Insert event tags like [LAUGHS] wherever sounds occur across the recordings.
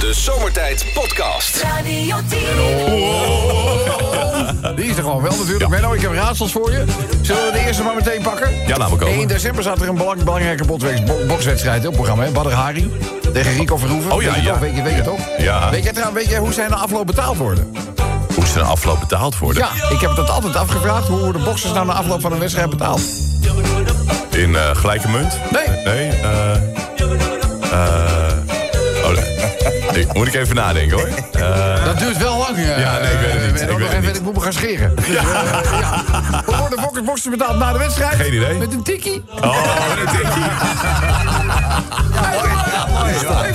De Zomertijd Podcast. Radio 10. Die is er gewoon wel natuurlijk. Menno, ik heb raadsels voor je. Zullen we de eerste maar meteen pakken? Ja, laten we komen. 1 december staat er een belang- belangrijke botweks- bo- bokswedstrijd op het programma. hè? Badr Hari tegen Rico Verhoeven. Oh, ja, weet je ja. toch? Weet je, weet je toch? Ja. Weet jij trouwens, weet jij hoe zij na afloop betaald worden? [LAUGHS] Hoe ze na afloop betaald worden? Ja, ik heb dat altijd afgevraagd. Hoe worden boksers nou na afloop van een wedstrijd betaald? In eh, gelijke munt? Nee. Nee, eh... eh, oh, nee. Ik- moet ik even nadenken, hoor. Dat duurt wel lang. eh, Ja, nee, ik weet het niet. Ik weet eh, Menno. Nog het even, niet. Ik moet me gaan scheren. [LAUGHS] Dus, eh, ja. Hoe worden boksers- boksers betaald na de wedstrijd? Geen idee. Met een tikkie? Oh, dat denk ik.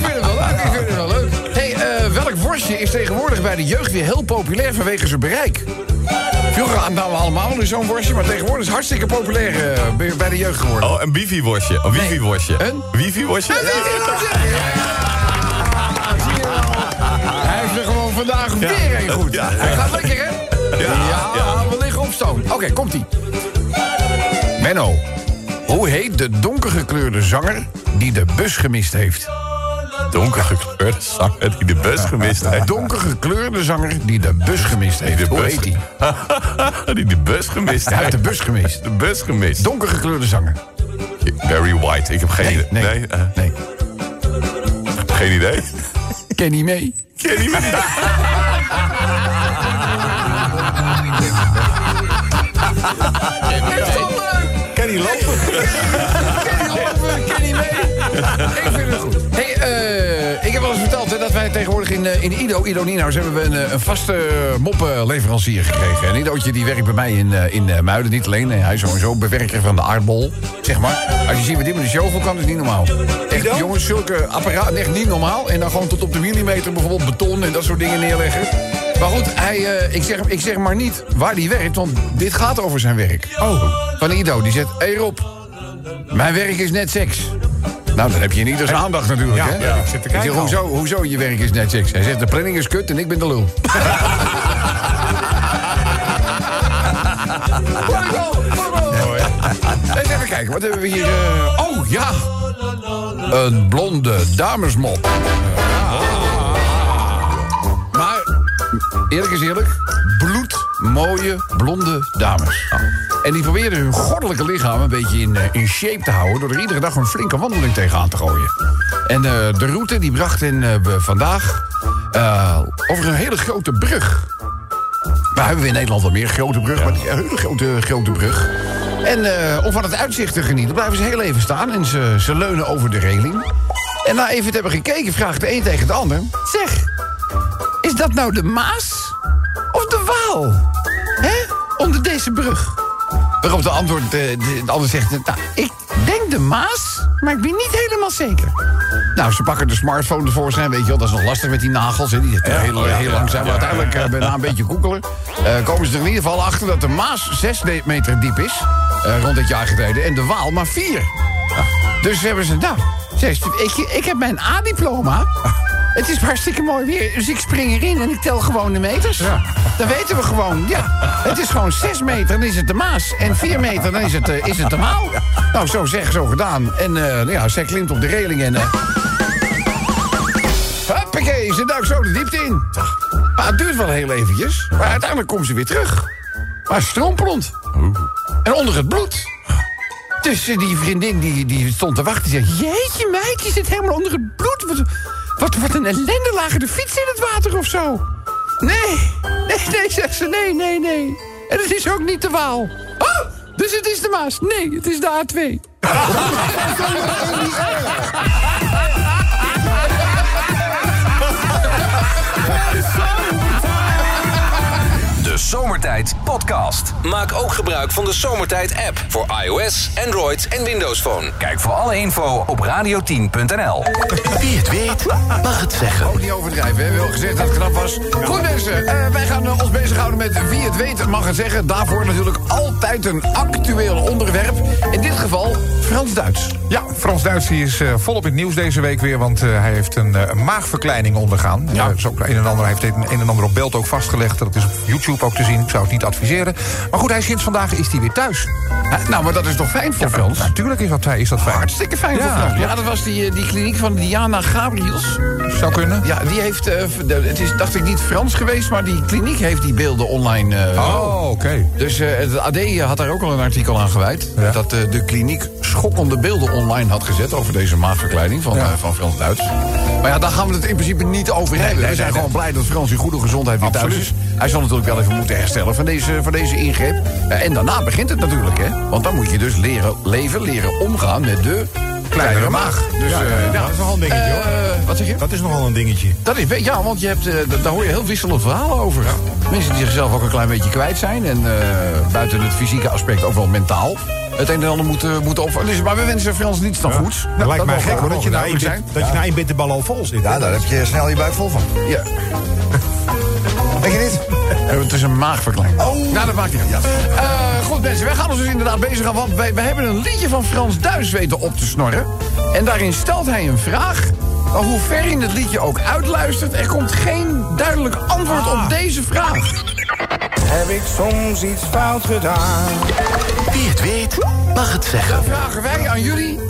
Ik vind het wel leuk, ik vind het wel leuk. Hey, eh, welk worstje is tegenwoordig bij de jeugd weer heel populair vanwege zijn bereik? Vroeger aandamen we allemaal nu zo'n worstje, maar tegenwoordig is het hartstikke populair eh, bij- bij de jeugd geworden. Oh, een wifi-worstje. Een wifi-worstje. Een? Wifi-worstje? Hij weet het nog zeggen. Ja, zie je wel. Hij heeft er gewoon vandaag weer een goed. Ja. Hij gaat lekker, hè? Ja, ja. we liggen op stoom. Oké, komt-ie. Menno, hoe heet de donkergekleurde zanger die de bus gemist heeft? Donker gekleurde zanger die de bus gemist heeft. Donkergekleurde zanger die de bus gemist heeft. De Hoe bus heet die? [LAUGHS] die de bus gemist Hij heeft heeft. de bus [LAUGHS] gemist. De bus gemist. Donkergekleurde zanger. Barry White. Ik heb geen idee. nee. Nee, eh, Nee. geen idee. [LAUGHS] Ken niet mee? Ken je niet? Is toch leuk? Ken je lopen? Kenny Loven, Kenny mee. Ik vind het goed. Hey, eh, ik heb al eens verteld hè, dat wij tegenwoordig in, eh, in Ido, Ido Nino's, hebben we een, eh, een vaste moppenleverancier gekregen. En Idootje die werkt bij mij in, eh, in eh, Muiden, niet alleen. eh, Hij is sowieso bewerker van de aardbol, zeg maar. Als je ziet wat dit met de show voor kan, is niet normaal. Echt, jongens, zulke apparaat, echt niet normaal. En dan gewoon tot op de millimeter bijvoorbeeld beton en dat soort dingen neerleggen. Maar goed, hij, eh, ik, zeg, ik zeg maar niet waar hij werkt, want dit gaat over zijn werk. Oh. Van Ido, die zegt, hey Rob, mijn werk is net seks. Nou, dan heb je niet als aandacht natuurlijk, hè? ja, ik zit te kijken zeg, hoezo, hoezo je werk is net seks? Hij zegt, de planning is kut en ik ben de lul. [LAUGHS] Marco, Marco. Eens even kijken, wat hebben we hier? eh, oh, ja. Een blonde damesmop. Ah. Maar, eerlijk is eerlijk, bloedmooie blonde dames. En die proberen hun goddelijke lichaam een beetje in, eh, in shape te houden... door er iedere dag een flinke wandeling tegenaan te gooien. En eh, de route die bracht hen eh, we vandaag eh, over een hele grote brug. Nou hebben we in Nederland wel meer grote brug, maar die hele grote, grote brug. En eh, om van het uitzicht te genieten, blijven ze heel even staan en ze, ze leunen over de reling. En na even te hebben gekeken, vraagt de een tegen de ander: Zeg, is dat nou de Maas of de Waal? Hè? Onder deze brug. Waarop de, antwoord, de, de, de ander zegt: Nou, ik denk de Maas, maar ik ben niet helemaal zeker. Nou, ze pakken de smartphone tevoorschijn. Weet je wel, dat is nog lastig met die nagels. Hè. Die zitten heel, heel langzaam. Maar uiteindelijk eh, bijna een beetje koekelen. Eh, komen ze er in ieder geval achter dat de Maas 6 meter diep is. eh, rond het jaar geleden. En de Waal maar 4. Dus hebben ze, nou, zegt ze, ik, ik heb mijn A-diploma. Het is hartstikke mooi weer, dus ik spring erin en ik tel gewoon de meters. Dan weten we gewoon, ja. Het is gewoon 6 meter, dan is het de Maas. En 4 meter, dan is het, eh, is het de Maal. Nou, zo zeg, zo gedaan. En eh, nou ja, zij klimt op de reling en... eh, Hoppakee, ze duikt zo de diepte in. Maar het duurt wel heel eventjes. Maar uiteindelijk komt ze weer terug. Maar strompelend. En onder het bloed. Dus eh, die vriendin die, die stond te wachten. Die zegt, jeetje meid, je zit helemaal onder het bloed. Wat, wat, wat een ellende lagen de fiets in het water of zo. Nee, nee, nee, zegt ze. Nee, nee, nee. En het is ook niet de Waal. Oh, dus het is de Maas. Nee, het is de A2. De Zomertijd Podcast. Maak ook gebruik van de Zomertijd app voor iOS, Android en Windows Phone. Kijk voor alle info op radio10.nl. Wie het weet, mag het zeggen. Ook niet overdrijven, we hebben wel gezegd dat het knap was. Goed mensen, eh, wij gaan eh, ons bezighouden met wie het weet mag het zeggen. Daarvoor natuurlijk altijd een actueel onderwerp. In dit geval Frans-Duits. Ja, Frans Duits die is eh, volop in het nieuws deze week weer. Want eh, hij heeft een eh, een maagverkleining ondergaan. Ja. zo een en ander, hij heeft het een en ander op beeld ook vastgelegd. Dat is op YouTube ook te zien. Ik zou het niet adviseren. Maar goed, hij is sinds vandaag is hij weer thuis. Hè, Nou, maar dat is toch fijn voor Frans? Natuurlijk is dat, is dat fijn. Hartstikke fijn Ja, voor Frans. Ja, dat was die, eh, die kliniek van Diana Gabriels. Zou kunnen. Ja, die heeft, eh, v- de- het is dacht ik niet Frans geweest, maar die kliniek heeft die beelden online. eh, Oh, oké. Dus eh, het AD had daar ook al een artikel aan gewijd. Dat eh, de kliniek schokkende beelden online had gezet over deze maagverkleining van, eh, van Frans Duits. Maar ja, daar gaan we het in principe niet over hebben. we zijn gewoon blij dat Frans in goede gezondheid weer thuis is. Hij zal natuurlijk wel even moeten herstellen van deze, van deze ingreep. Eh, en daarna begint het natuurlijk, hè? Want dan moet je dus leren leven, leren omgaan met de kleinere maag. Dus, Ja, eh, ja, ja, dat is nogal een dingetje, hoor. eh, wat zeg je? Dat is nogal een dingetje. Dat is, ja, want je hebt, eh, d- daar hoor je heel wisselend verhalen over. Mensen die zichzelf ook een klein beetje kwijt zijn. En eh, buiten het fysieke aspect ook wel mentaal. Het een en ander moeten, moeten op. Dus, maar we wensen Frans niets dan goeds. Nou, dat lijkt mij mag gek wel, hoor, dat je, mogen na één, duidelijk bit- dat je na één bitterbal al vol zit. Ja, daar heb je snel je buik vol van. Ja. Denk je niet? Eh, Het is een maagverkleining. Oh. Nou, dat maakt niet uit. Eh, goed, mensen, wij gaan ons dus inderdaad bezig aan. Want wij, wij hebben een liedje van Frans Duis weten op te snorren. En daarin stelt hij een vraag. Maar hoe ver in het liedje ook uitluistert, er komt geen duidelijk antwoord op deze vraag. Ah. Heb ik soms iets fout gedaan? Wie het weet, mag het zeggen. vragen wij aan jullie.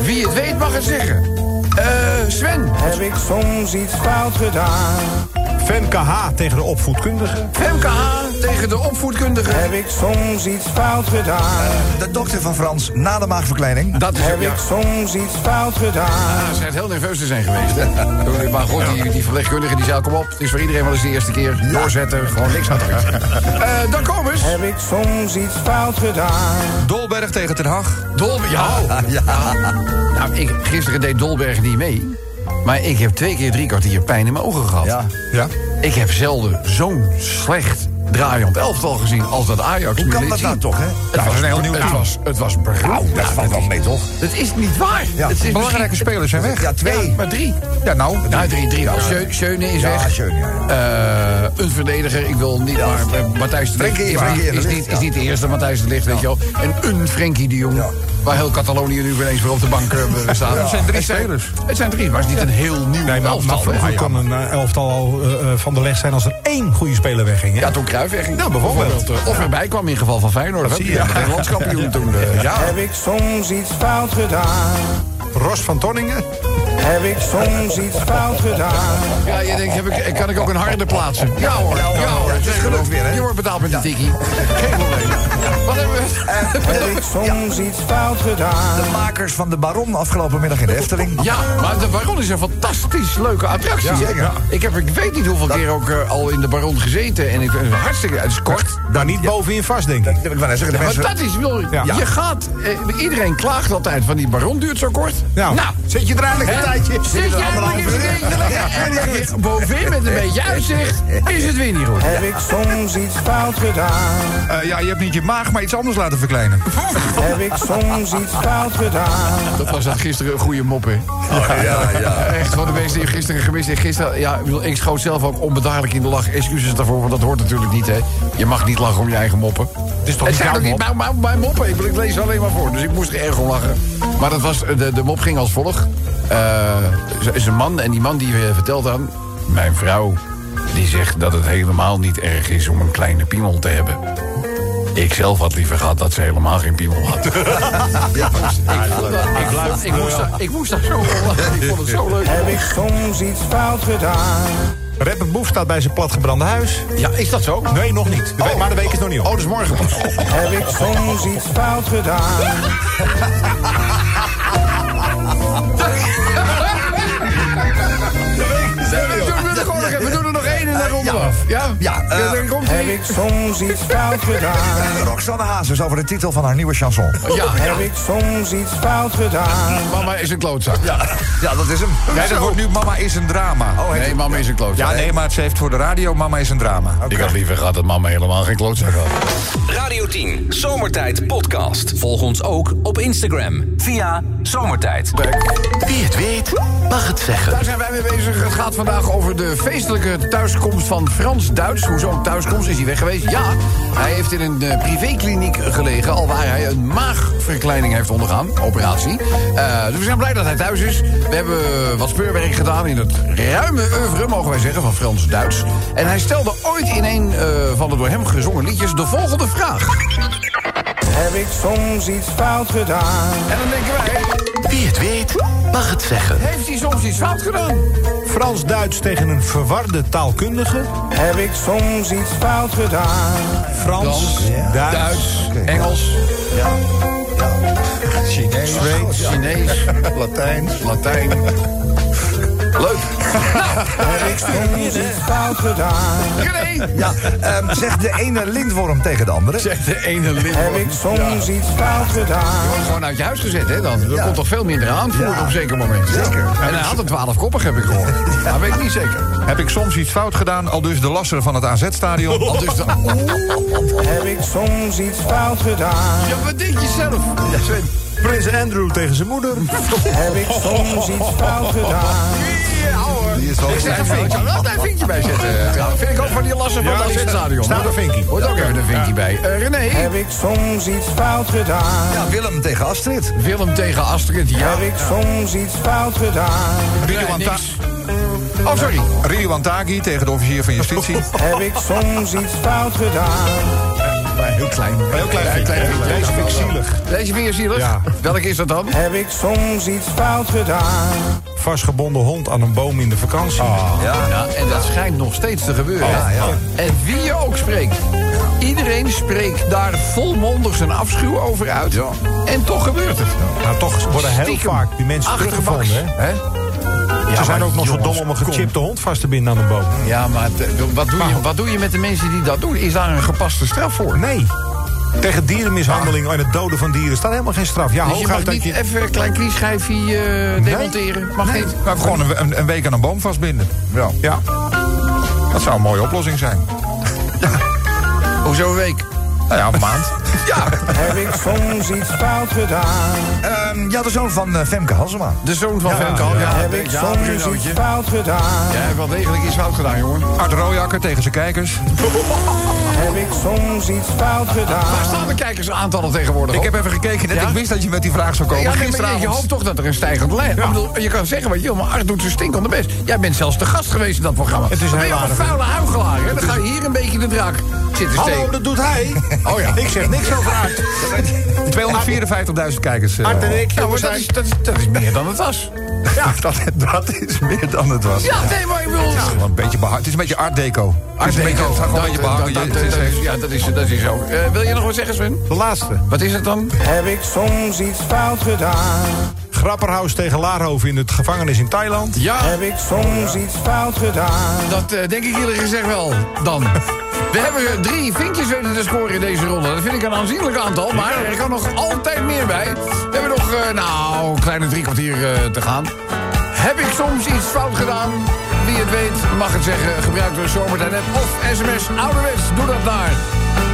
Wie het weet mag het zeggen. Eh, Sven. Heb ik soms iets fout gedaan? Femke H. tegen de opvoedkundige. Femke H. tegen de opvoedkundige. Heb ik soms iets fout gedaan? De dokter van Frans na de maagverkleining. Dat is Heb ja, ik soms iets fout gedaan? Nou, Ze schijnt heel nerveus te zijn geweest. hè? Toen- Maar goed, die, die verpleegkundige die zei, kom op. Het is voor iedereen wel eens de eerste keer. Doorzetten, gewoon niks aan het Eh Dan komen ze. Heb ik soms iets fout gedaan? Dolberg tegen Ten Haag. Dolberg. Ja. Oh. ja. Nou, ik, gisteren deed Dolberg niet mee. Maar ik heb twee keer drie kwartier pijn in mijn ogen gehad. Ja. Ja. Ik heb zelden zo'n slecht draaiend elftal gezien als dat Ajax. Hoe nu kan liet dat nou zien. toch, hè? Het was, een heel nieuw het was, het was Nou, dat valt wel mee, toch? Het is niet waar. Ja, het is Belangrijke misschien- spelers zijn weg. Ja, twee. Ja, maar drie. Ja, nou. Nou, drie, drie wel. Schö- Schöne is Ja, weg. Schöne, ja, Eh, een verdediger, ik wil niet... Maar, eh, Matthijs de Ligt Frenkie, is, Frenkie de is, Ligt, niet, ja. is niet de eerste Matthijs de Ligt, weet je wel. En een Frenkie de Jong, Ja. waar heel Catalonië nu ineens weer op de bank eh, staat. Het zijn drie spelers. Het zijn drie, maar het is niet een heel nieuw Nee, maar, maar elftal. hè? vroeger kon een eh, elftal al eh, eh, van de leg zijn als er één goede speler wegging. hè? Ja, toen Cruijff wegging. Ja, bijvoorbeeld. eh, Of erbij kwam in het geval van Feyenoord. Dat zie je. De landskampioen toen. eh, ja. Heb ik soms iets fout gedaan? Ros van Tonningen. Heb ik soms iets fout gedaan? Ja, je denkt, heb ik, kan ik ook een harde plaatsen? Ja hoor, ja hoor. het is gelukt weer, hè? Je wordt betaald met een tikkie. Geen probleem. Wat hebben Heb we? ik soms iets fout gedaan? De makers van de Baron afgelopen middag in de Efteling. Ja, maar de Baron is een fantastisch leuke attractie. Ja, hè? zeker. Ik heb ik weet niet hoeveel keer ook eh, al in de Baron gezeten. En ik vind het hartstikke... Het is kort. Daar niet bovenin vast, denk ik. Dat wil ik wel eens zeggen. De Maar mensen, dat is wel... Ja. Je gaat... eh, iedereen klaagt altijd van die Baron duurt zo kort. Ja. Nou, zit je er eindelijk hè? een tijdje? Zit je anderhalf eigenlijk eens een uur? keertje Ja, lekker- lekker bovenin met een beetje uitzicht... is het weer niet goed. Heb ik soms iets fout gedaan? Eh, ja, je hebt niet je maag, maar iets anders laten verkleinen. Heb ik soms iets fout gedaan? Dat was dat gisteren een goede mop, hè? ja, ja. Echt van de mensen die gisteren gemist hebben. Gisteren, ja, ik, bedoel, ik schoot zelf ook onbedaardelijk in de lach. Excuses daarvoor, want dat hoort natuurlijk niet, hè. Je mag niet lachen om je eigen moppen. Het is toch niet zijn jouw ook niet mijn, mijn- mijn moppen. Ik, bedoel, ik lees ze alleen maar voor, dus ik moest er erg om lachen. Maar dat was, de, de mop ging als volgt. Eh, Er is een man en die man die eh, vertelt aan... Mijn vrouw, die zegt dat het helemaal niet erg is om een kleine piemel te hebben. Ik zelf had liever Ah, gehad dat ze helemaal geen piemel had. Ik vond dat- ik vond- ik moest daar- Ik moest daar zo om lachen. Ik vond het zo leuk. Heb ik soms iets fout gedaan? Rapper Boef staat bij zijn platgebrande huis. Ja, is dat zo? Nee, nog niet. De we- maar de week is nog niet op. Oh, dat is morgen pas. Heb ik soms iets fout gedaan? We doen er gewoon nog één. We doen er nog één en dan ronden we af. Ja? Ja, eh, dan komt Heb hij. ik soms iets fout gedaan? Roxanne Hazes over de titel van haar nieuwe chanson. Oh. Ja, ja. Heb ik soms iets fout gedaan? Mama is een klootzak. Ja, dat is hem. Oh, Nee, dat wordt nu Mama is een drama. Nee, mama is een klootzak. Ja, nee, maar ze heeft voor de radio Mama is een drama. Ik had liever gehad dat mama helemaal geen klootzak had. Radio 10, Zomertijd Podcast. Volg ons ook op Instagram via Zomertijd. Wie het weet, mag het zeggen. Daar zijn wij mee bezig. Het gaat vandaag over de feestelijke thuiskomst van van Frans-Duits. Hoezo een thuiskomst? Is hij weg geweest? Ja, hij heeft in een eh, privékliniek gelegen... alwaar hij een maagverkleining heeft ondergaan, operatie. Eh, dus we zijn blij dat hij thuis is. We hebben wat speurwerk gedaan in het ruime oeuvre, mogen wij zeggen, van Frans-Duits. En hij stelde ooit in een eh, van de door hem gezongen liedjes de volgende vraag. Heb ik soms iets fout gedaan? En dan denken wij, Wie het weet, mag het zeggen. heeft hij soms iets fout gedaan? Frans-Duits tegen een verwarde taalkundige. Heb ik soms iets fout gedaan? Frans, Frans, Duits, Duits, Engels, Chinees, Zweeds, Chinees, Latijn. Latijn. Leuk. Heb ik soms iets fout gedaan? René, Ja, ehm, zegt de ene lintworm tegen de andere. zegt de ene Heb lid. ik soms iets fout gedaan? Gewoon uit je huis gezet, hè? Dan. Er komt toch veel minder aanvoer op een zeker moment. Zeker. En hij had een twaalfkoppig, heb ik gehoord. Maar weet ik niet zeker. Heb ik soms iets fout gedaan, al dus de lasser van het [LAUGHS] AZ-stadion? Al dus dan. Heb ik soms iets fout gedaan? Ja, wat denk je zelf? Ja, Sven. Prins Andrew tegen zijn moeder. Heb ik soms iets fout gedaan? Ja, hoor. wel Ik zeg klein, een vinkje. Ik zou er altijd een vinkje bij zetten. eh, trouwens. Vind ik ook van die lassen van het AZ-stadion. staat een vinkie. Hoort ook even een vinkje bij. Eh, René. Heb ik soms iets fout gedaan? Ja, Willem tegen Astrid. Willem tegen Astrid. Ja. Heb ik soms iets fout gedaan? Nee, niks. Oh, sorry. Ridouan Taghi tegen de officier van [LAUGHS] justitie. Heb ik soms iets fout gedaan? Heel klein. Heel klein. Deze vind ik zielig. Deze vind je zielig? Ja. Welke is dat dan? Heb ik soms iets fout gedaan? Vastgebonden hond aan een boom in de vakantie. Ja. en dat schijnt nog steeds te gebeuren. hè? En wie je ook spreekt. Iedereen spreekt daar volmondig zijn afschuw over uit. En toch gebeurt het. Maar Nou, toch worden heel Stiekem vaak die mensen achterbaks, teruggevonden. Hè? hè? Ja, Ze zijn maar ook nog zo dom jongens, om een kom. gechipte hond vast te binden aan een boom. Ja, maar het- wat doe, je, wat doe je met de mensen die dat doen? Is daar een gepaste straf voor? Nee. Tegen dierenmishandeling en het doden van dieren staat helemaal geen straf. Ja, Dus je mag hooguit dat niet je... even een klein knieschijfje eh, demonteren? Mag Nee, niet. maar gewoon een, een, een week aan een boom vastbinden. Ja. Ja, Dat zou een mooie oplossing zijn. Nou Hoezo Oh, een week? ja, [LAUGHS] een maand. Heb ik soms iets fout gedaan? Ehm, ja, de zoon van eh, Femke Halsema. De zoon van Van Kamp. Ah, Ja, Heb ik soms iets fout gedaan? Jij hebt wel degelijk iets fout gedaan, jongen. Art Rooijakker tegen zijn kijkers. Heb ik soms iets fout Waar gedaan? staan de kijkersaantallen tegenwoordig Ik op? heb even gekeken net. Ja? Ik wist dat je met die vraag zou Ja, komen. nee, maar je, je hoopt toch dat er een stijgende lijn... Ik bedoel, je kan zeggen wat je wil, maar Art doet zijn stinkende best. Jij bent zelfs de gast geweest in dat programma. Het is dan heel ben je al een aardig. vuile huigelaar. hè? Dan ga je hier een beetje de draak zitten Hallo, steken. dat doet [LAUGHS] hij. Oh ja. Ik zeg niks over [LAUGHS] Art. 254.000 kijkers. eh, Art en ik. Ja, maar jongens, nou, dat is, dat, is, dat is meer dan het was. [LAUGHS] Ja, dat, dat is meer dan het was. Ja, nee, maar ik bedoel... wel een beetje beha- Het is een beetje art deco. Het is een beetje- Het gaat gewoon een beetje Dat- dat- behangen. dat- Het is dat is- echt- Ja, dat is, dat is zo. Eh, wil je nog wat zeggen, Sven? De laatste. Wat is het dan? Heb ik soms iets fout gedaan? Grapperhaus tegen Laarhoven in het gevangenis in Thailand. Ja, Heb ik soms iets fout gedaan? dat eh, denk ik eerlijk gezegd wel. Dan. We hebben eh, drie vinkjes weten te scoren in deze ronde. Dat vind ik een aanzienlijk aantal, maar er kan nog altijd meer bij. We hebben nog, eh, nou, een kleine drie kwartier eh, te gaan. Heb ik soms iets fout gedaan? Wie het weet, mag het zeggen. Gebruik de zomertijd app of sms ouderwets. Doe dat naar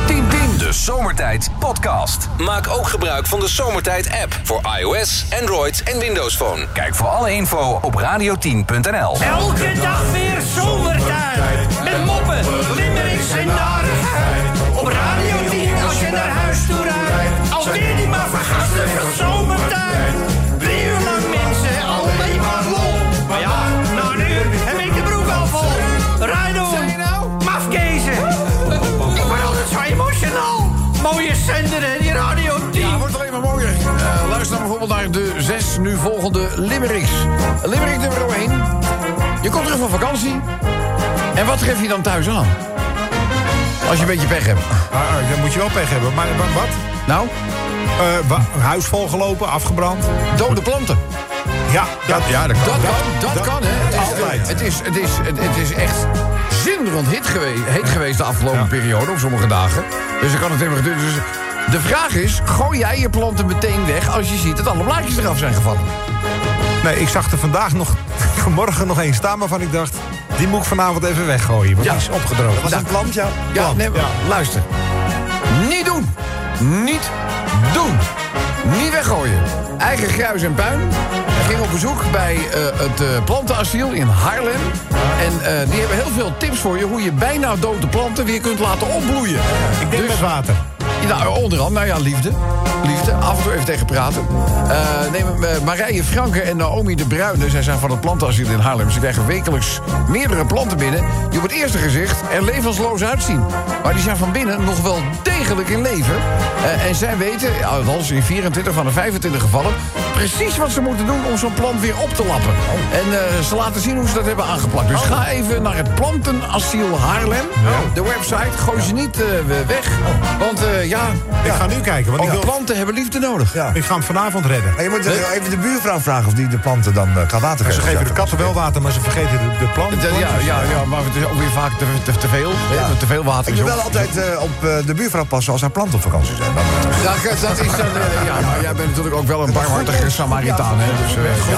1010. De Zomertijd Podcast. Maak ook gebruik van de Zomertijd app voor iOS, Android en Windows Phone. Kijk voor alle info op radio10.nl. Elke dag weer zomertijd. Met moppen, limmerings en narigheid. Op Radio 10 als je naar huis toe rijdt. Alweer die maar vergastige zomertijd. Drie uur lang mensen, alleen maar lol. Maar ja, na een uur heb ik de broek al vol. Rijd door. Mafkezen. Ik word altijd zo emotional. Mooie zender en die Radio 10. Ja, het wordt alleen maar mooier. Eh, luister dan bijvoorbeeld naar de zes nu volgende Limericks. Limerick nummer 1. Je komt terug van vakantie. En wat geef je dan thuis aan? Als je een beetje pech hebt. Ah, ah, dan moet je wel pech hebben. Maar wa- wat? Nou, Eh, wa- huis volgelopen, afgebrand. dode planten. Ja, dat, ja, dat Dat kan, dat kan, hè. Het is, Altijd. Het is, het is, het, het is echt zinderend hit geweest, heet geweest de afgelopen periode, op sommige dagen. Dus ik kan het even geduurd. Dus de vraag is, gooi jij je planten meteen weg als je ziet dat alle blaadjes eraf zijn gevallen? Nee, ik zag er vandaag nog, [LAUGHS] vanmorgen nog één staan waarvan ik dacht... die moet ik vanavond even weggooien, want Ja. die is opgedroogd. Was een plant, ja? Ja, Plan, nee, maar luister. Niet doen. Niet doen. Niet weggooien. Eigen gruis en puin. Hij ging op bezoek bij eh, het eh, plantenasiel in Haarlem. En eh, die hebben heel veel tips voor je... hoe je bijna dode planten weer kunt laten opbloeien. Dus- Ik denk met water. Ja, onder andere, nou ja, liefde. Liefde, af en toe even tegen praten. Eh neem eh, Marije Franke en Naomi de Bruyne. Zij zijn van het plantenasiel in Haarlem. Ze krijgen wekelijks meerdere planten binnen... die op het eerste gezicht er levensloos uitzien. Maar die zijn van binnen nog wel degelijk in leven. Eh, en zij weten, althans in 24 van de 25 gevallen... precies wat ze moeten doen om zo'n plant weer op te lappen. Oh. En eh, ze laten zien hoe ze dat hebben aangeplakt. Dus ga even naar het plantenasiel Haarlem. Oh, De website, gooi ze niet eh, weg. Want eh, ja, Oh. Oh, Ik ga nu kijken, want ik, ook wil, planten hebben liefde nodig. Ja. ik ga hem vanavond redden. Maar je moet eh, even de buurvrouw vragen of die de planten dan eh, gaat water Ze geven. geven de katten wel water, maar ze vergeten de, de planten. Ja, ja, ja, ja, maar het is ook weer vaak te, te, te veel. hè, Te veel water Ik is moet ook- wel altijd eh, op eh, de buurvrouw passen als haar planten op vakantie zijn. Dan, eh, Ja, kijk, dat is dan, eh, ja, maar jij bent natuurlijk ook wel een barmhartige Samaritaan. Hè, dus, eh, ja.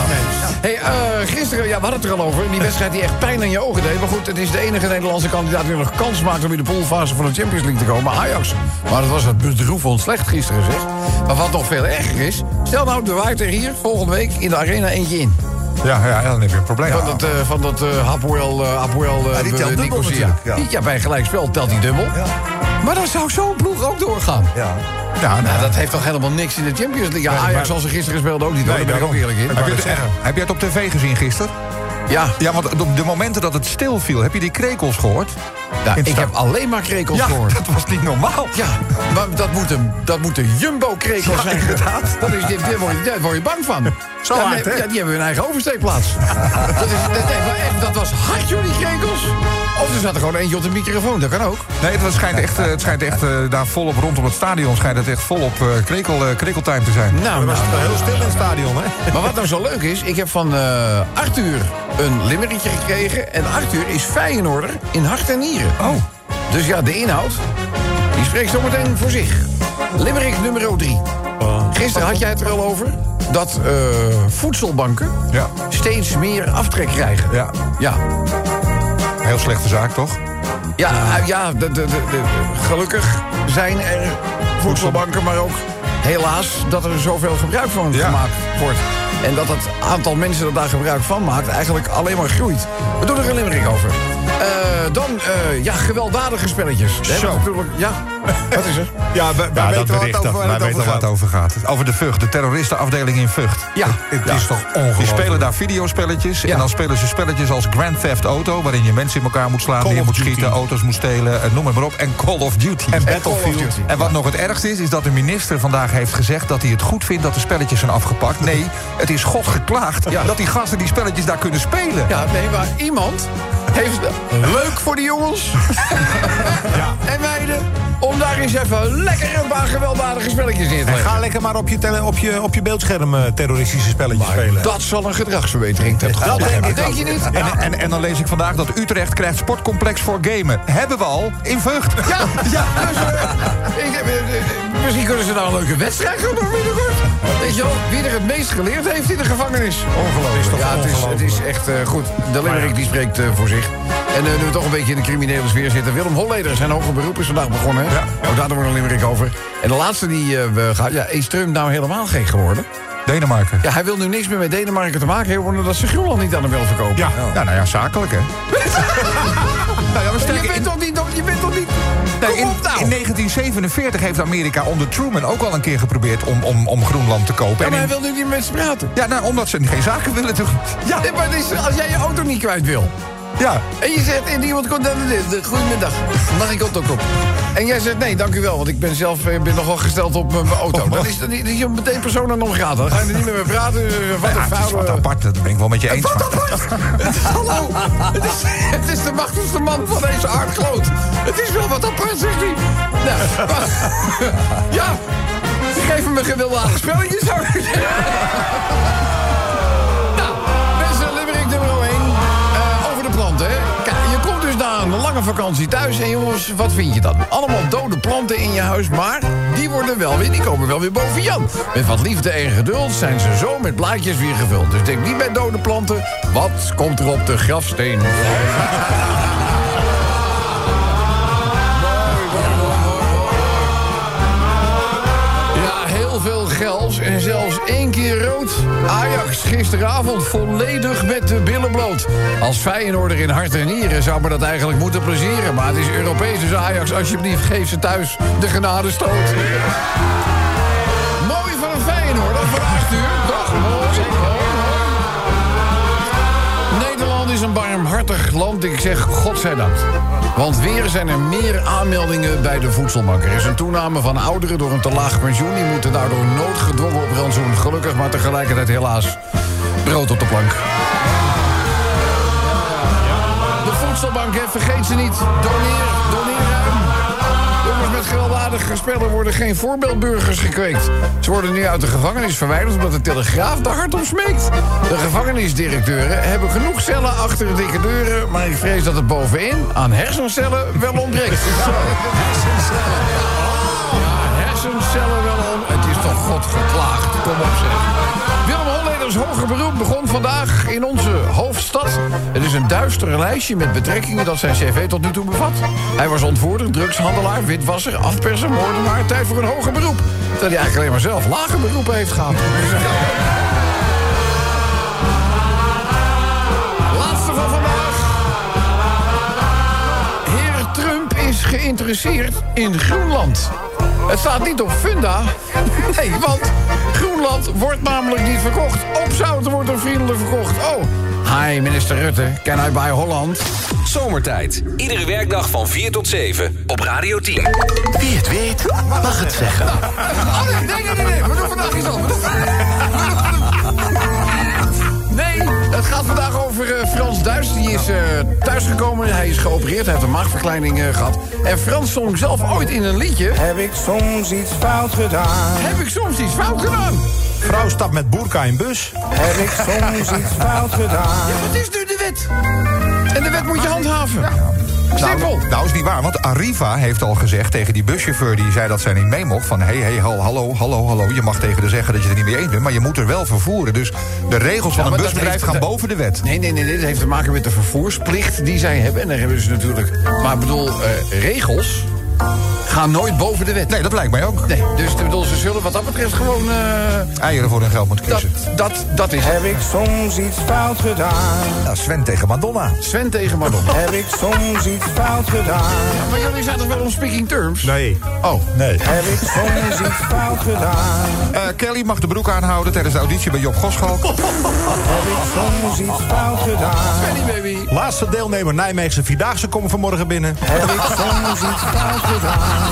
hey, eh, gisteren, ja, we hadden het er al over. Die wedstrijd die echt pijn aan je ogen deed. Maar goed, het is de enige Nederlandse kandidaat die nog kans maakt... om in de poolfase van de Champions League te komen, Ajax. Maar dat was het bedroevend slecht gisteren, zeg. Maar wat nog veel erger is... stel nou de waard er hier volgende week in de arena eentje in. Ja, ja, dan heb je een probleem. Van dat, eh van dat eh Hapoel, eh, Hapoel eh, Ja, die telt eh, dubbel Nicosia. natuurlijk, ja. Ja, bij een gelijkspel telt hij dubbel. Maar dan zou zo'n ploeg ook doorgaan. ja. Ja, Nou, nou, dat heeft toch helemaal niks in de Champions League. Ja, Nee, Ajax maar- als ze gisteren speelden ook niet. hoor, Nee, daar ben ik ook daarom. eerlijk in. Maar- Heb je, dat het, zeggen. heb je het op tv gezien gisteren? Ja, Ja, want op de momenten dat het stil viel, heb je die krekels gehoord? ja, het ik stad- heb alleen maar krekels Ja, gehoord. dat was niet normaal. Ja, maar dat moeten, dat moeten jumbo-krekels zijn. Inderdaad. Dat is, dit- dit word je, daar word je bang van. Zo ja, hard, nee, hè? Ja, die hebben hun eigen oversteekplaats. dat, is, dat, nee, maar echt, dat was hard, joh, die krekels. Of er zat er gewoon eentje op de microfoon, dat kan ook. Nee, het, was- schijnt echt, eh, het schijnt echt eh, daar volop rondom het stadion... schijnt het echt volop eh krekel, eh, krekeltime te zijn. Nou, nou, wel heel stil in het stadion, hè? Maar wat nou zo leuk is, ik heb van eh, Arthur een limmerietje gekregen. En Arthur is Feyenoorder in hart en nieren. Oh. Dus ja, de inhoud, die spreekt zometeen voor zich. Limerick nummer 3. Oh. Gisteren had jij het er al over dat eh, voedselbanken Ja. steeds meer aftrek krijgen. Ja. Ja, Heel slechte zaak, toch? ja, eh, ja de, de, de, de- gelukkig zijn er voedselbanken, maar ook helaas dat er zoveel gebruik van Ja. gemaakt wordt. En dat het aantal mensen dat daar gebruik van maakt eigenlijk alleen maar groeit. We doen er een limmering over. Eh, dan, eh, ja, gewelddadige spelletjes. We hebben Zo. natuurlijk- Ja, [LAUGHS] wat is er? Ja, wij, wij Ja, dat weten bericht, wat dat- over, waar wij het weten over eh, Waar gaat. het over gaat. Over de Vught, de terroristenafdeling in Vught. Ja. Het is toch ongelooflijk. Die spelen daar videospelletjes. Ja. En dan spelen ze spelletjes als Grand Theft Auto... waarin je mensen in elkaar moet slaan, neer of moet Duty. schieten... auto's moet stelen, eh, noem het maar op. En Call of Duty. En Battlefield. Call of Duty. En wat nog het ergste is, is dat de minister vandaag heeft gezegd... dat hij het goed vindt dat de spelletjes zijn afgepakt. Nee, het is god geklaagd Ja. dat die gasten die spelletjes daar kunnen spelen. Ja, nee, maar iemand heeft leuk voor de [LAUGHS] jongens [LAUGHS] en meiden om daar eens even lekker een paar gewelddadige spelletjes in te En leggen. ga lekker maar op je, tele, op je, op je beeldscherm eh, terroristische spelletjes spelen. Dat zal een gedragsverbetering ten Dat gehad denk hebben. ik Denk ook. je niet? En, en, en dan lees ik vandaag dat Utrecht krijgt sportcomplex voor gamen. Hebben we al in Vught. Ja, ja. Dus, eh, ik, eh, eh, misschien kunnen ze nou een leuke wedstrijd gaan doen binnenkort. Weet je wel, wie er het meest geleerd heeft in de gevangenis. Ongelooflijk. ja, het, is, het is echt eh, goed. De Limerick die spreekt eh, voor zich. En eh, nu we toch een beetje in de criminele sfeer zitten. Willem Holleder, zijn hoger beroep is vandaag begonnen. hè? Ook daar doen we een Limerick over. En de laatste die eh we gaan... Ja, is Trump nou helemaal gek geworden? Denemarken. Ja, hij wil nu niks meer met Denemarken te maken hebben... omdat ze Groenland niet aan hem wil verkopen. Ja. Nou, nou ja, zakelijk hè. nou ja, maar sterk, Je bent toch niet... Je bent toch niet... Nee, in, Kom op nou! in 1947 heeft Amerika onder Truman ook al een keer geprobeerd om, om, om Groenland te kopen. Ja, maar En hij in- wil nu niet met ze praten. ja, nou, omdat ze geen zaken willen doen. Ja, nee, maar het is, als jij je auto niet kwijt wil. Ja, En je zegt, en iemand komt dan de, de goedemiddag. Mag ik auto op? En jij zegt, nee, dank u wel, want ik ben zelf eh, ben nogal gesteld op mijn mijn auto. Maar dat is, dat is- dat is meteen persoon aan omgaan. Dan ga je er niet meer mee praten. eh, Wat Oh, ja een het is wat vuile... apart, dat ben ik wel met je eens. maar- Het is, hallo, het is, het is de machtigste man van deze aardkloot. Het is wel wat apart, zegt hij. Nou, [LAUGHS] maar, ja, ze geven me gewelddadig spelletjes, zou ik zeggen. Nou, mensen, Limerick nummer 1. Eh, over de planten, hè. Kijk, je komt dus na een lange vakantie thuis en jongens, wat vind je dan? Allemaal dode planten in je huis, maar die worden wel weer, die komen wel weer boven Jan. Met wat liefde en geduld zijn ze zo met blaadjes weer gevuld. Dus denk niet bij dode planten, wat komt er op de grafsteen? Mooi, mooi, mooi, mooi, mooi. Ja, heel veel geld en zelfs één keer rood. Ajax gisteravond volledig met de billen bloot. Als Feyenoorder in hart en nieren zou me dat eigenlijk moeten plezieren. Maar het is Europees, dus Ajax, alsjeblieft, geef ze thuis de genadestoot. Mooi van een Feyenoord, dat verrast u. Toch? Mooi, mooi, mooi. Nederland is een barmhartig land, ik zeg godzijdank. Want weer zijn er meer aanmeldingen bij de voedselbank. Er is een toename van ouderen door een te laag pensioen. Die moeten daardoor noodgedwongen op rantsoen. Gelukkig, maar tegelijkertijd helaas brood op de plank. De voedselbank, hè, vergeet ze niet. Doneer, doneer ruim. Jongens met gewelddadige spellen worden geen voorbeeldburgers gekweekt. Ze worden nu uit de gevangenis verwijderd omdat de Telegraaf daar hard om smeekt. De gevangenisdirecteuren hebben genoeg cellen achter de dikke deuren... maar ik vrees dat het bovenin aan hersencellen wel ontbreekt. hersencellen. Ja, hersencellen wel ontbreekt. Het is toch God geklaagd. Kom op zeg. Willem Holleders hoger beroep begon vandaag in onze hoofdstad. Het is een duister lijstje met betrekkingen dat zijn cv tot nu toe bevat. Hij was ontvoerder, drugshandelaar, witwasser, afperser, moordenaar. Tijd voor een hoger beroep. Terwijl hij eigenlijk alleen maar zelf lage beroepen heeft gehad. Dus, eh, Laatste van vandaag. Heer Trump is geïnteresseerd in Groenland. Het staat niet op Funda. [LAUGHS] Nee, want Groenland wordt namelijk niet verkocht. Opzouten wordt door vrienden verkocht. Oh, hi minister Rutte, can I buy Holland? Zomertijd. Iedere werkdag van 4 tot 7 op Radio 10. Wie het weet, mag het zeggen. [LAUGHS] Oh nee, nee, nee, nee, nee. we doen vandaag iets anders. Nee, het gaat vandaag over eh, Frans Duis. Die is eh, thuisgekomen, hij is geopereerd, hij heeft een maagverkleining eh, gehad. En Frans zong zelf ooit in een liedje... Heb ik soms iets fout gedaan? Heb ik soms iets fout gedaan? Vrouw stapt met boerka in bus. Heb ik soms iets fout gedaan? Ja, wat is nu de wet? En de wet moet je handhaven. Simpel. Nou, nou is niet waar, want Arriva heeft al gezegd tegen die buschauffeur... die zei dat zij niet mee mocht, van hé, hey, hey, hal- hallo, hallo, hallo... je mag tegen de zeggen dat je er niet mee eens bent, maar je moet er wel vervoeren. Dus de regels van maar een dat busbedrijf heeft- gaan dat- boven de wet. Nee, nee, nee, nee, dit heeft te maken met de vervoersplicht die zij hebben. En daar hebben ze natuurlijk... Maar ik bedoel, eh, regels gaan nooit boven de wet. Nee, dat lijkt mij ook. Nee, dus ik bedoel, ze zullen wat dat betreft gewoon... eh, Eieren voor hun geld moeten dat, kiezen. dat, dat is... Heb ik soms iets fout gedaan? Nou, Sven tegen Madonna. Sven tegen Madonna. Heb ik soms iets fout gedaan? [LAUGHS] maar jullie zijn toch wel on speaking terms? Nee. Oh, Nee. Heb ik soms iets fout gedaan? Eh, Kelly mag de broek aanhouden tijdens de auditie bij Job Goschalk. Heb ik soms iets fout gedaan? Benny baby. Laatste deelnemer Nijmeegse Vierdaagse komen vanmorgen binnen. Heb ik soms iets fout gedaan?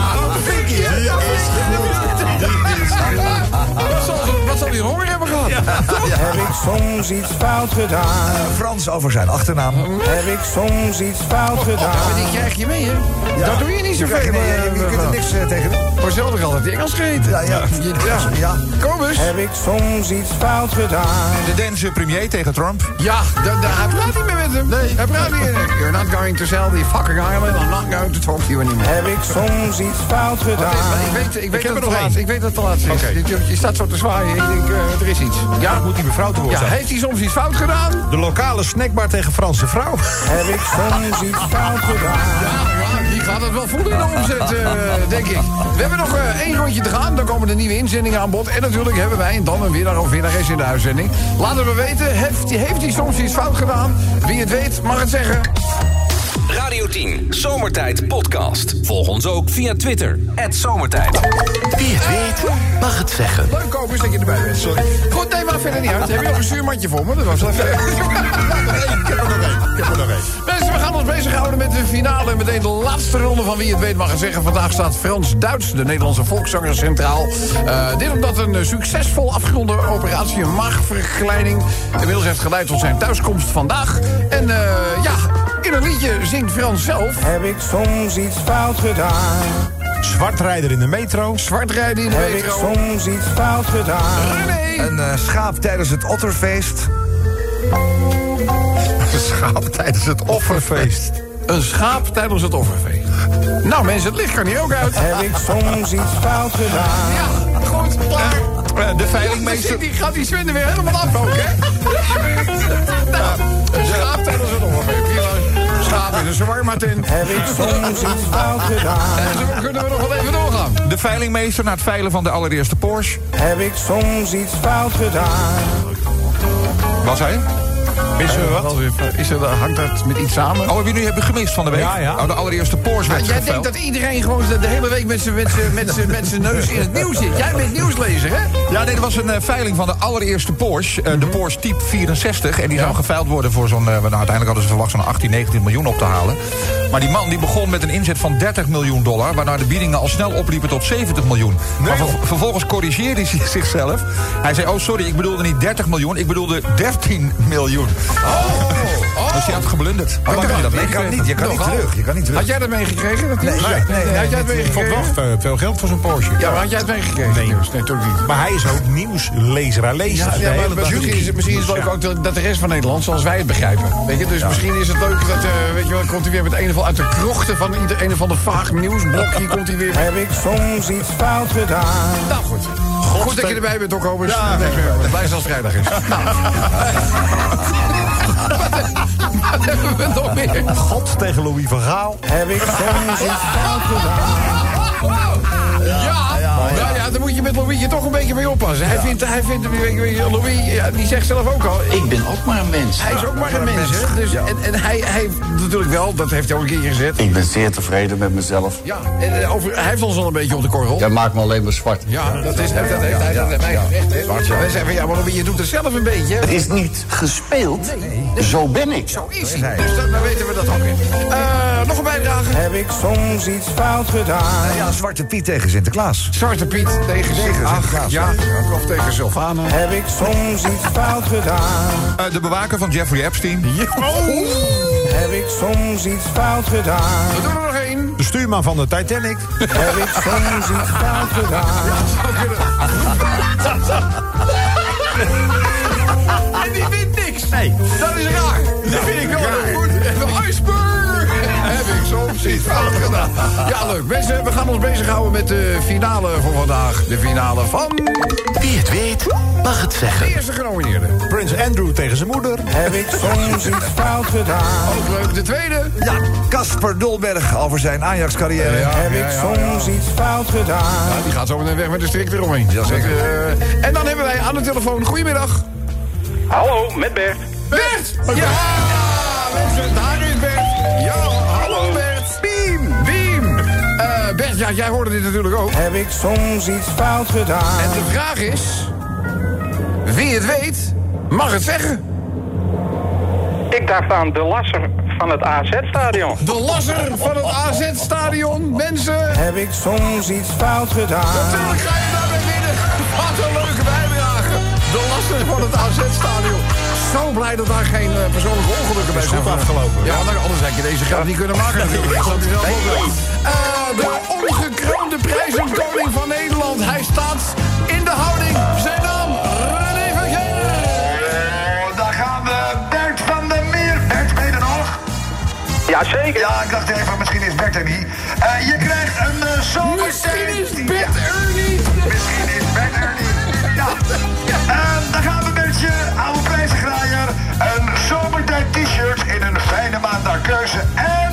[LAUGHS] Wat zal, ze- wat zal die honger hebben gehad? Heb ik soms iets fout gedaan? Frans over zijn achternaam. Heb ik soms iets fout Maar gedaan? die krijg je mee, hè? Ja. Dat doe je niet zo krijgt veel. er- je, je kunt er niks eh, tegen doen. Maar zelf nog altijd Engels gegeten. Ja, ja. ja. Ja. Kom eens. Heb ik soms iets fout gedaan? De Deense premier tegen [LAUGHS] Trump. Ja, da, da, hij praat niet meer met hem. Nee. Hij praat niet meer. You're not going to sell the fucking island. I'm not going to talk to you anymore. Heb ik soms iets fout gedaan? Ik weet, ik, weet dat er het nog te laat, één. ik weet dat het te laat is. Je, je- je staat zo te zwaaien. Ik denk, eh, er is iets. Ja, Moet die mevrouw te woord ja, staan. heeft hij soms iets fout gedaan? De lokale snackbar tegen Franse vrouw. Heb ik soms iets fout gedaan? Ja, die gaat het wel voelen in de omzet, eh, denk ik. We hebben nog eh, één rondje te gaan. Dan komen de nieuwe inzendingen aan bod. En natuurlijk hebben wij een dan een winnaar of winnares in de uitzending. Laten we weten, heeft, heeft hij soms iets fout gedaan? Wie het weet, mag het zeggen. Radio 10, Zomertijd podcast. Volg ons ook via Twitter, Zomertijd. Wie het weet, mag het zeggen. Leuk kopers dat je erbij bent. Sorry. Goed, nee, maar verder niet uit. Heb je nog een zuurmandje voor me? Dat was even. [LAUGHS] ik heb er nog één. Ik heb er nog één. Mensen, we gaan ons bezighouden met de finale. En meteen de laatste ronde van Wie het weet mag het zeggen. Vandaag staat Frans-Duits, de Nederlandse volkszanger, centraal. Eh, dit omdat een eh, succesvol afgeronde operatie, een maagverkleining... inmiddels heeft geleid tot zijn thuiskomst vandaag. En eh, ja, in een liedje zingt Frans zelf... Heb ik soms iets fout gedaan? Zwartrijder in de metro. Zwart rijden in de Heb ik metro. soms iets fout gedaan? René! Een eh, schaap tijdens het otterfeest. Schaap tijdens het offerfeest. Een schaap tijdens het offerfeest. Nou mensen, het licht kan hier ook uit. Heb ik soms iets fout gedaan? Ja, goed, klaar. Eh, De Meester... veilingmeester... Die gaat die Sven er weer helemaal af ook, hè? nou, een schaap tijdens het offerfeest. Schaap in een shawarma tent. Heb ik soms iets fout gedaan? En zo kunnen we nog wel even doorgaan. gedaan? De veilingmeester na het veilen van de allereerste Porsche. Heb ik soms iets fout gedaan? Wat zei je? Missen we wat? Is er, hangt dat met iets samen? Oh, heb je nu hebben gemist van de week? Ja, ja. Oh, de allereerste Porsche werd Ah, jij denkt geveild. dat iedereen gewoon de de hele week met zijn- met zijn- met zijn- met zijn neus in het nieuws zit. Jij bent nieuwslezer, hè? Ja, nee, er was een eh, veiling van de allereerste Porsche. Mhm. eh, De Porsche Type 64. En die zou geveild worden voor zo'n... eh, nou, uiteindelijk hadden ze verwacht zo'n 18, 19 miljoen op te halen. Maar die man die begon met een inzet van 30 miljoen dollar... waarna de biedingen al snel opliepen tot 70 miljoen. maar ver- vervolgens corrigeerde hij [LAUGHS] zichzelf. Hij zei, oh sorry, ik bedoelde niet 30 miljoen... ik bedoelde 13 miljoen. [LAUGHS] Dus die had geblunderd. Had Oh, Maar hij dat je kan meegekregen? niet, je kan niet Nogal. terug. Je kan niet terug. Had jij dat meegekregen? dat nieuws? nee, nee, Had jij het Vond meegekregen? wel eh, veel geld voor zo'n Porsche. Ja, maar had jij het meegekregen? Nee. nieuws? Nee, toch niet. Maar hij is ook nieuwslezer. Hij leest Ja, het de ja, maar hele dag. misschien, is het, misschien is het leuk ook dat- dat de rest van Nederland, zoals wij het begrijpen. Weet je, dus misschien is het leuk dat, eh, weet je wel, komt hij weer met een of ander uit de krochten van ieder, een of ander vaag nieuwsblok. Hier komt hij weer. Heb ik soms iets fout gedaan? Nou goed. Goed dat je erbij bent, ook Obers. Ja, blij als het vrijdag [LAUGHS] is. Nou. [LAUGHS] Wat hebben we nog meer? God tegen Louis van Gaal. Heb ik [LAUGHS] soms iets fout gedaan? Ja, Nou ja, ja, daar moet je met Louis je toch een beetje mee oppassen. Hij vindt, hij vindt weet je, weet je, Louis, ja, die zegt zelf ook al, Ik ben ook maar een mens. hij is ook maar een mens. hè. Dus, en, en hij, hij heeft natuurlijk wel, dat heeft hij ook een keer gezet. Ik ben zeer tevreden met mezelf. Ja, en, eh, over, hij heeft ons al een beetje op de korrel. Jij maakt me alleen maar zwart. Ja, dat is dat heeft hij dat heeft mij gezegd. hè. Wij zeggen van, ja, maar Louis, je doet het zelf een beetje. hè. Het is niet gespeeld. Zo ben ik. Zo is hij. Dus dat, dan weten we dat ook weer. Eh, nog een bijdrage. Heb ik soms iets fout gedaan? Ja, Zwarte Piet tegen Sinterklaas. Zwarte Piet tegen zich. Ach, Sinterklaas. ja. Of tegen Sylvana. Heb ik soms iets fout gedaan? Eh, de bewaker van Jeffrey Epstein. Oh. Heb ik soms iets fout gedaan? We doen er nog één. De stuurman van de Titanic. Heb ik soms iets fout gedaan? En die wint niks. Nee. Dat is raar. Dat vind ik wel heel goed. En Iceberg. Heb ik soms iets fout gedaan. Ja, leuk. Mensen, we gaan ons bezighouden met de finale voor vandaag. De finale van Wie het weet, mag het de zeggen. eerste genomineerde. [LAUGHS] Prins Andrew tegen zijn moeder. Heb ik soms iets fout gedaan? Ook leuk. De tweede. Ja, Casper Dolberg over zijn Ajax-carrière. Heb ik soms iets fout gedaan? Die gaat zo meteen weg met de strik eromheen. Jazeker. Dat, eh, en dan hebben wij aan de telefoon. Goedemiddag. Hallo, met Bert. Bert! Ja! Mensen, daar is Bert. Ja, hallo Bert. Beam! Beam! Eh, Bert, ja, jij hoorde dit natuurlijk ook. Heb ik soms iets fout gedaan? En de vraag is... Wie het weet, mag het zeggen. Ik dacht aan de lasser van het AZ-stadion. De lasser van het AZ-stadion. Mensen... Heb ik soms iets fout gedaan? Natuurlijk ga je daarmee winnen. Wat een leuke bijdrage. De lasten van het AZ-stadion. Zo blij dat daar geen eh, persoonlijke ongelukken bij zijn. afgelopen. Ja, maar anders had je deze grap niet kunnen maken natuurlijk. Dat snap je zelf ook wel. Eh, de ongekroonde prijzenkoning van Nederland. Hij staat in de houding. Zijn naam, René Vergeer. Daar gaan we. Bert van der Meer. Bert, ben je er nog? Jazeker. Ja, ik dacht even, misschien is Bert er niet. Eh, je krijgt een uh, Misschien is Bert Ernie. Misschien is Bert er niet. Ja. Eh, dan gaan we met je oude prijzengraaier. Een zomertijd t-shirt in een fijne maand naar keuze. En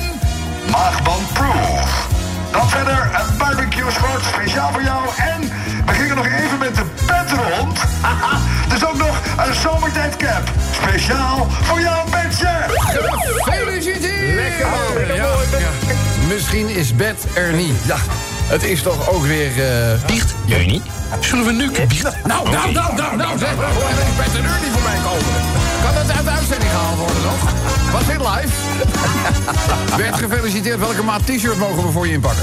maagband proof. Dan verder een barbecue schort speciaal voor jou. En we gingen nog even met de pet rond. [LAUGHS] Haha, dus ook nog een zomertijd cap. Speciaal voor jou, Betje. Gefeliciteerd! Lekker ja, ja. Misschien is Bert er niet. Ja. Het is toch ook weer... eh, Biecht, jij niet? Zullen we nu biecht? Nou, nou, nou, nou, nou, zeg maar gewoon dat Bert en Ernie voor mij komen. Kan dat uit de uitzending gehaald worden nog? Was dit live? [LAUGHS] Bert, gefeliciteerd. Welke maat t-shirt mogen we voor je inpakken?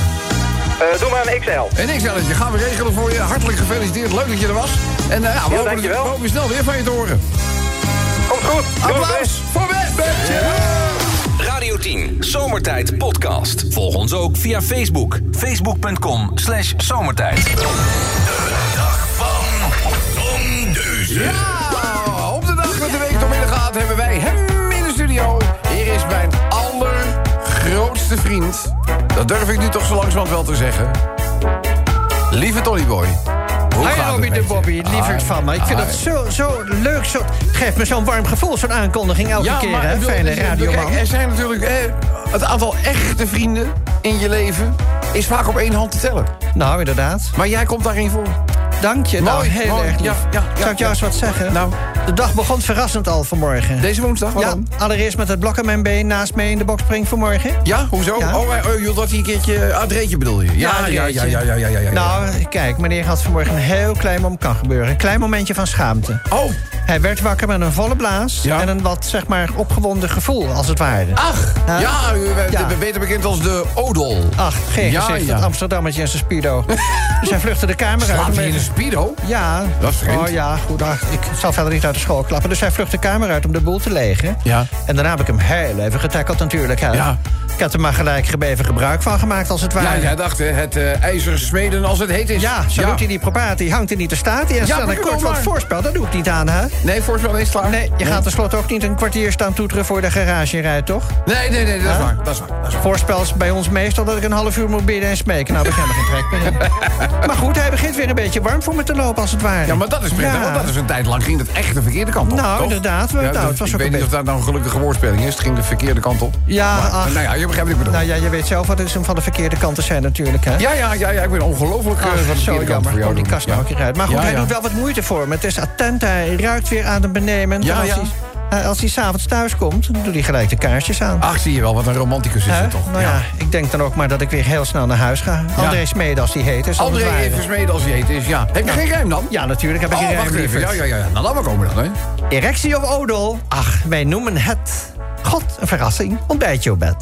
Eh, doe maar een XL. En ik zeg het je, gaan we regelen voor je. Hartelijk gefeliciteerd, leuk dat je er was. En eh, ja, we, hopen, dankjewel. we hopen snel weer van je te horen. Komt goed. Applaus voor Bert, Bert! Radio 10, Zomertijd Podcast. Volg ons ook via Facebook. Facebook.com slash zomertijd. Ja, op de dag dat de week door midden gaat, hebben wij hem in de studio. Hier is mijn allergrootste vriend. Dat durf ik nu toch zo langzamerhand wel te zeggen. Lieve Tollyboy. Hoe Hi gaat het Robin met de je? Bobby, lieverd Ah, van me. Ik vind ah, dat zo, zo leuk. Zo, het geeft me zo'n warm gevoel, zo'n aankondiging elke ja, keer. maar hè, ik bedoel, fijne er zijn- radioman. kijk, er zijn natuurlijk eh, het aantal echte vrienden in je leven is vaak op één hand te tellen. Nou, inderdaad. Maar jij komt daarin voor. Dank je. nou, Mooi, heel mooi. erg lief. Ja, ja, ja, Zou ik jou ja. eens wat zeggen? Nou. De dag begon verrassend al vanmorgen. Deze woensdag, wat dan? Ja, allereerst met het blok aan mijn been naast mij in de boxspring vanmorgen. Ja, hoezo? Ja. Oh, eh, oh, joh, dat hij een keertje... Ah, het reetje bedoel je? Ja, ja, ja, Adriaatje. ja, ja, ja, ja, ja. Nou, kijk, meneer had vanmorgen een heel klein moment kan gebeuren. Een klein momentje van schaamte. Oh, Hij werd wakker met een volle blaas Ja. en een wat, zeg maar, opgewonden gevoel, als het ware. ach, Ja. ja, u bent Ja. beter bekend als de odol. Ach, geen Ja, gezicht, ja. dat Amsterdammetje en zijn speedo. dus hij vluchtte de kamer uit. Slaapt om hij in een even- speedo? Ja. Dat is vreemd. Oh ja, goed. ach, ik zal verder niet uit de school klappen. Dus hij vlucht de kamer uit om de boel te legen. Ja. En daarna heb ik hem heel even getackeld natuurlijk. hè. Ja. Ik had er maar gelijk even gebruik van gemaakt, als het ware. Ja, jij dacht, hè, het eh, ijzer smeden als het heet is. Ja, zo doet hij die probatie. Hangt hij niet te staat. En stel maar ik kort kom wat maar. voorspel. Dat doe ik niet aan, hè? Nee, voorspel eens klaar. Nee, je gaat tenslotte ook niet een kwartier staan toeteren voor de garage rijdt, toch? Nee, nee, nee, dat is Huh? waar. Dat is waar. dat is waar. Voorspel is bij ons meestal dat ik een half uur moet bidden en smeken. Nou, heb ik helemaal geen trek meer [LAUGHS] in. Maar goed, hij begint weer een beetje warm voor me te lopen, als het ware. Ja, maar dat is prettig, Ja. want dat is een tijd lang ging het echt de verkeerde kant op. Nou, toch? inderdaad, we- Ja, nou, dat- het was ik ook weet een niet of beetje- dat nou een gelukkige woordspelling is. Het ging de verkeerde kant op. Ja, Maar, ach. Nou ja, je begrijpt wat ik bedoel. Nou ja, je weet zelf wat het is om van de verkeerde kant te zijn natuurlijk, hè? Ja, ja, ja, ja, ik ben ongelooflijk eh, Ach, van de zo verkeerde kant jammer. voor jou. Kom die doen. kast nou een keer uit. Maar goed, Ja, hij ja. doet wel wat moeite voor me. Het is attent, hij ruikt weer aan de beneden. Ja, als ja. hij- eh, Als hij s'avonds thuis komt, dan doet hij gelijk de kaarsjes aan. Ach, zie je wel, wat een romanticus Ah, is Hè? het toch. Nou ja. ik denk dan ook maar dat ik weer heel snel naar huis ga. André Smeed, als die heet. Is dan André het ware. heeft versmeden als je heet is, ja. Heb je geen ruim dan? Ja, natuurlijk heb ik Oh, hier wacht even. Ja, ja, ja. ja. Nou, laat maar komen dan, hè. Erectie of odol? Ach, wij noemen het... God, een verrassing. Ontbijtje op [LAUGHS] bed.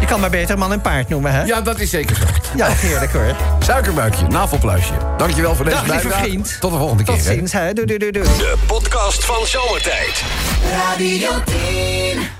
je kan maar beter man en paard noemen, hè? Ja, dat is zeker zo. Ja, heerlijk hoor. Dus Suikerbuikje, navelpluisje. Dankjewel voor deze Dag, lieve bijdrage. vriend. Tot de volgende keer. Tot hè. ziens, hè. Doei, doei, doei, doei. De podcast van Zomertijd. Radio 10.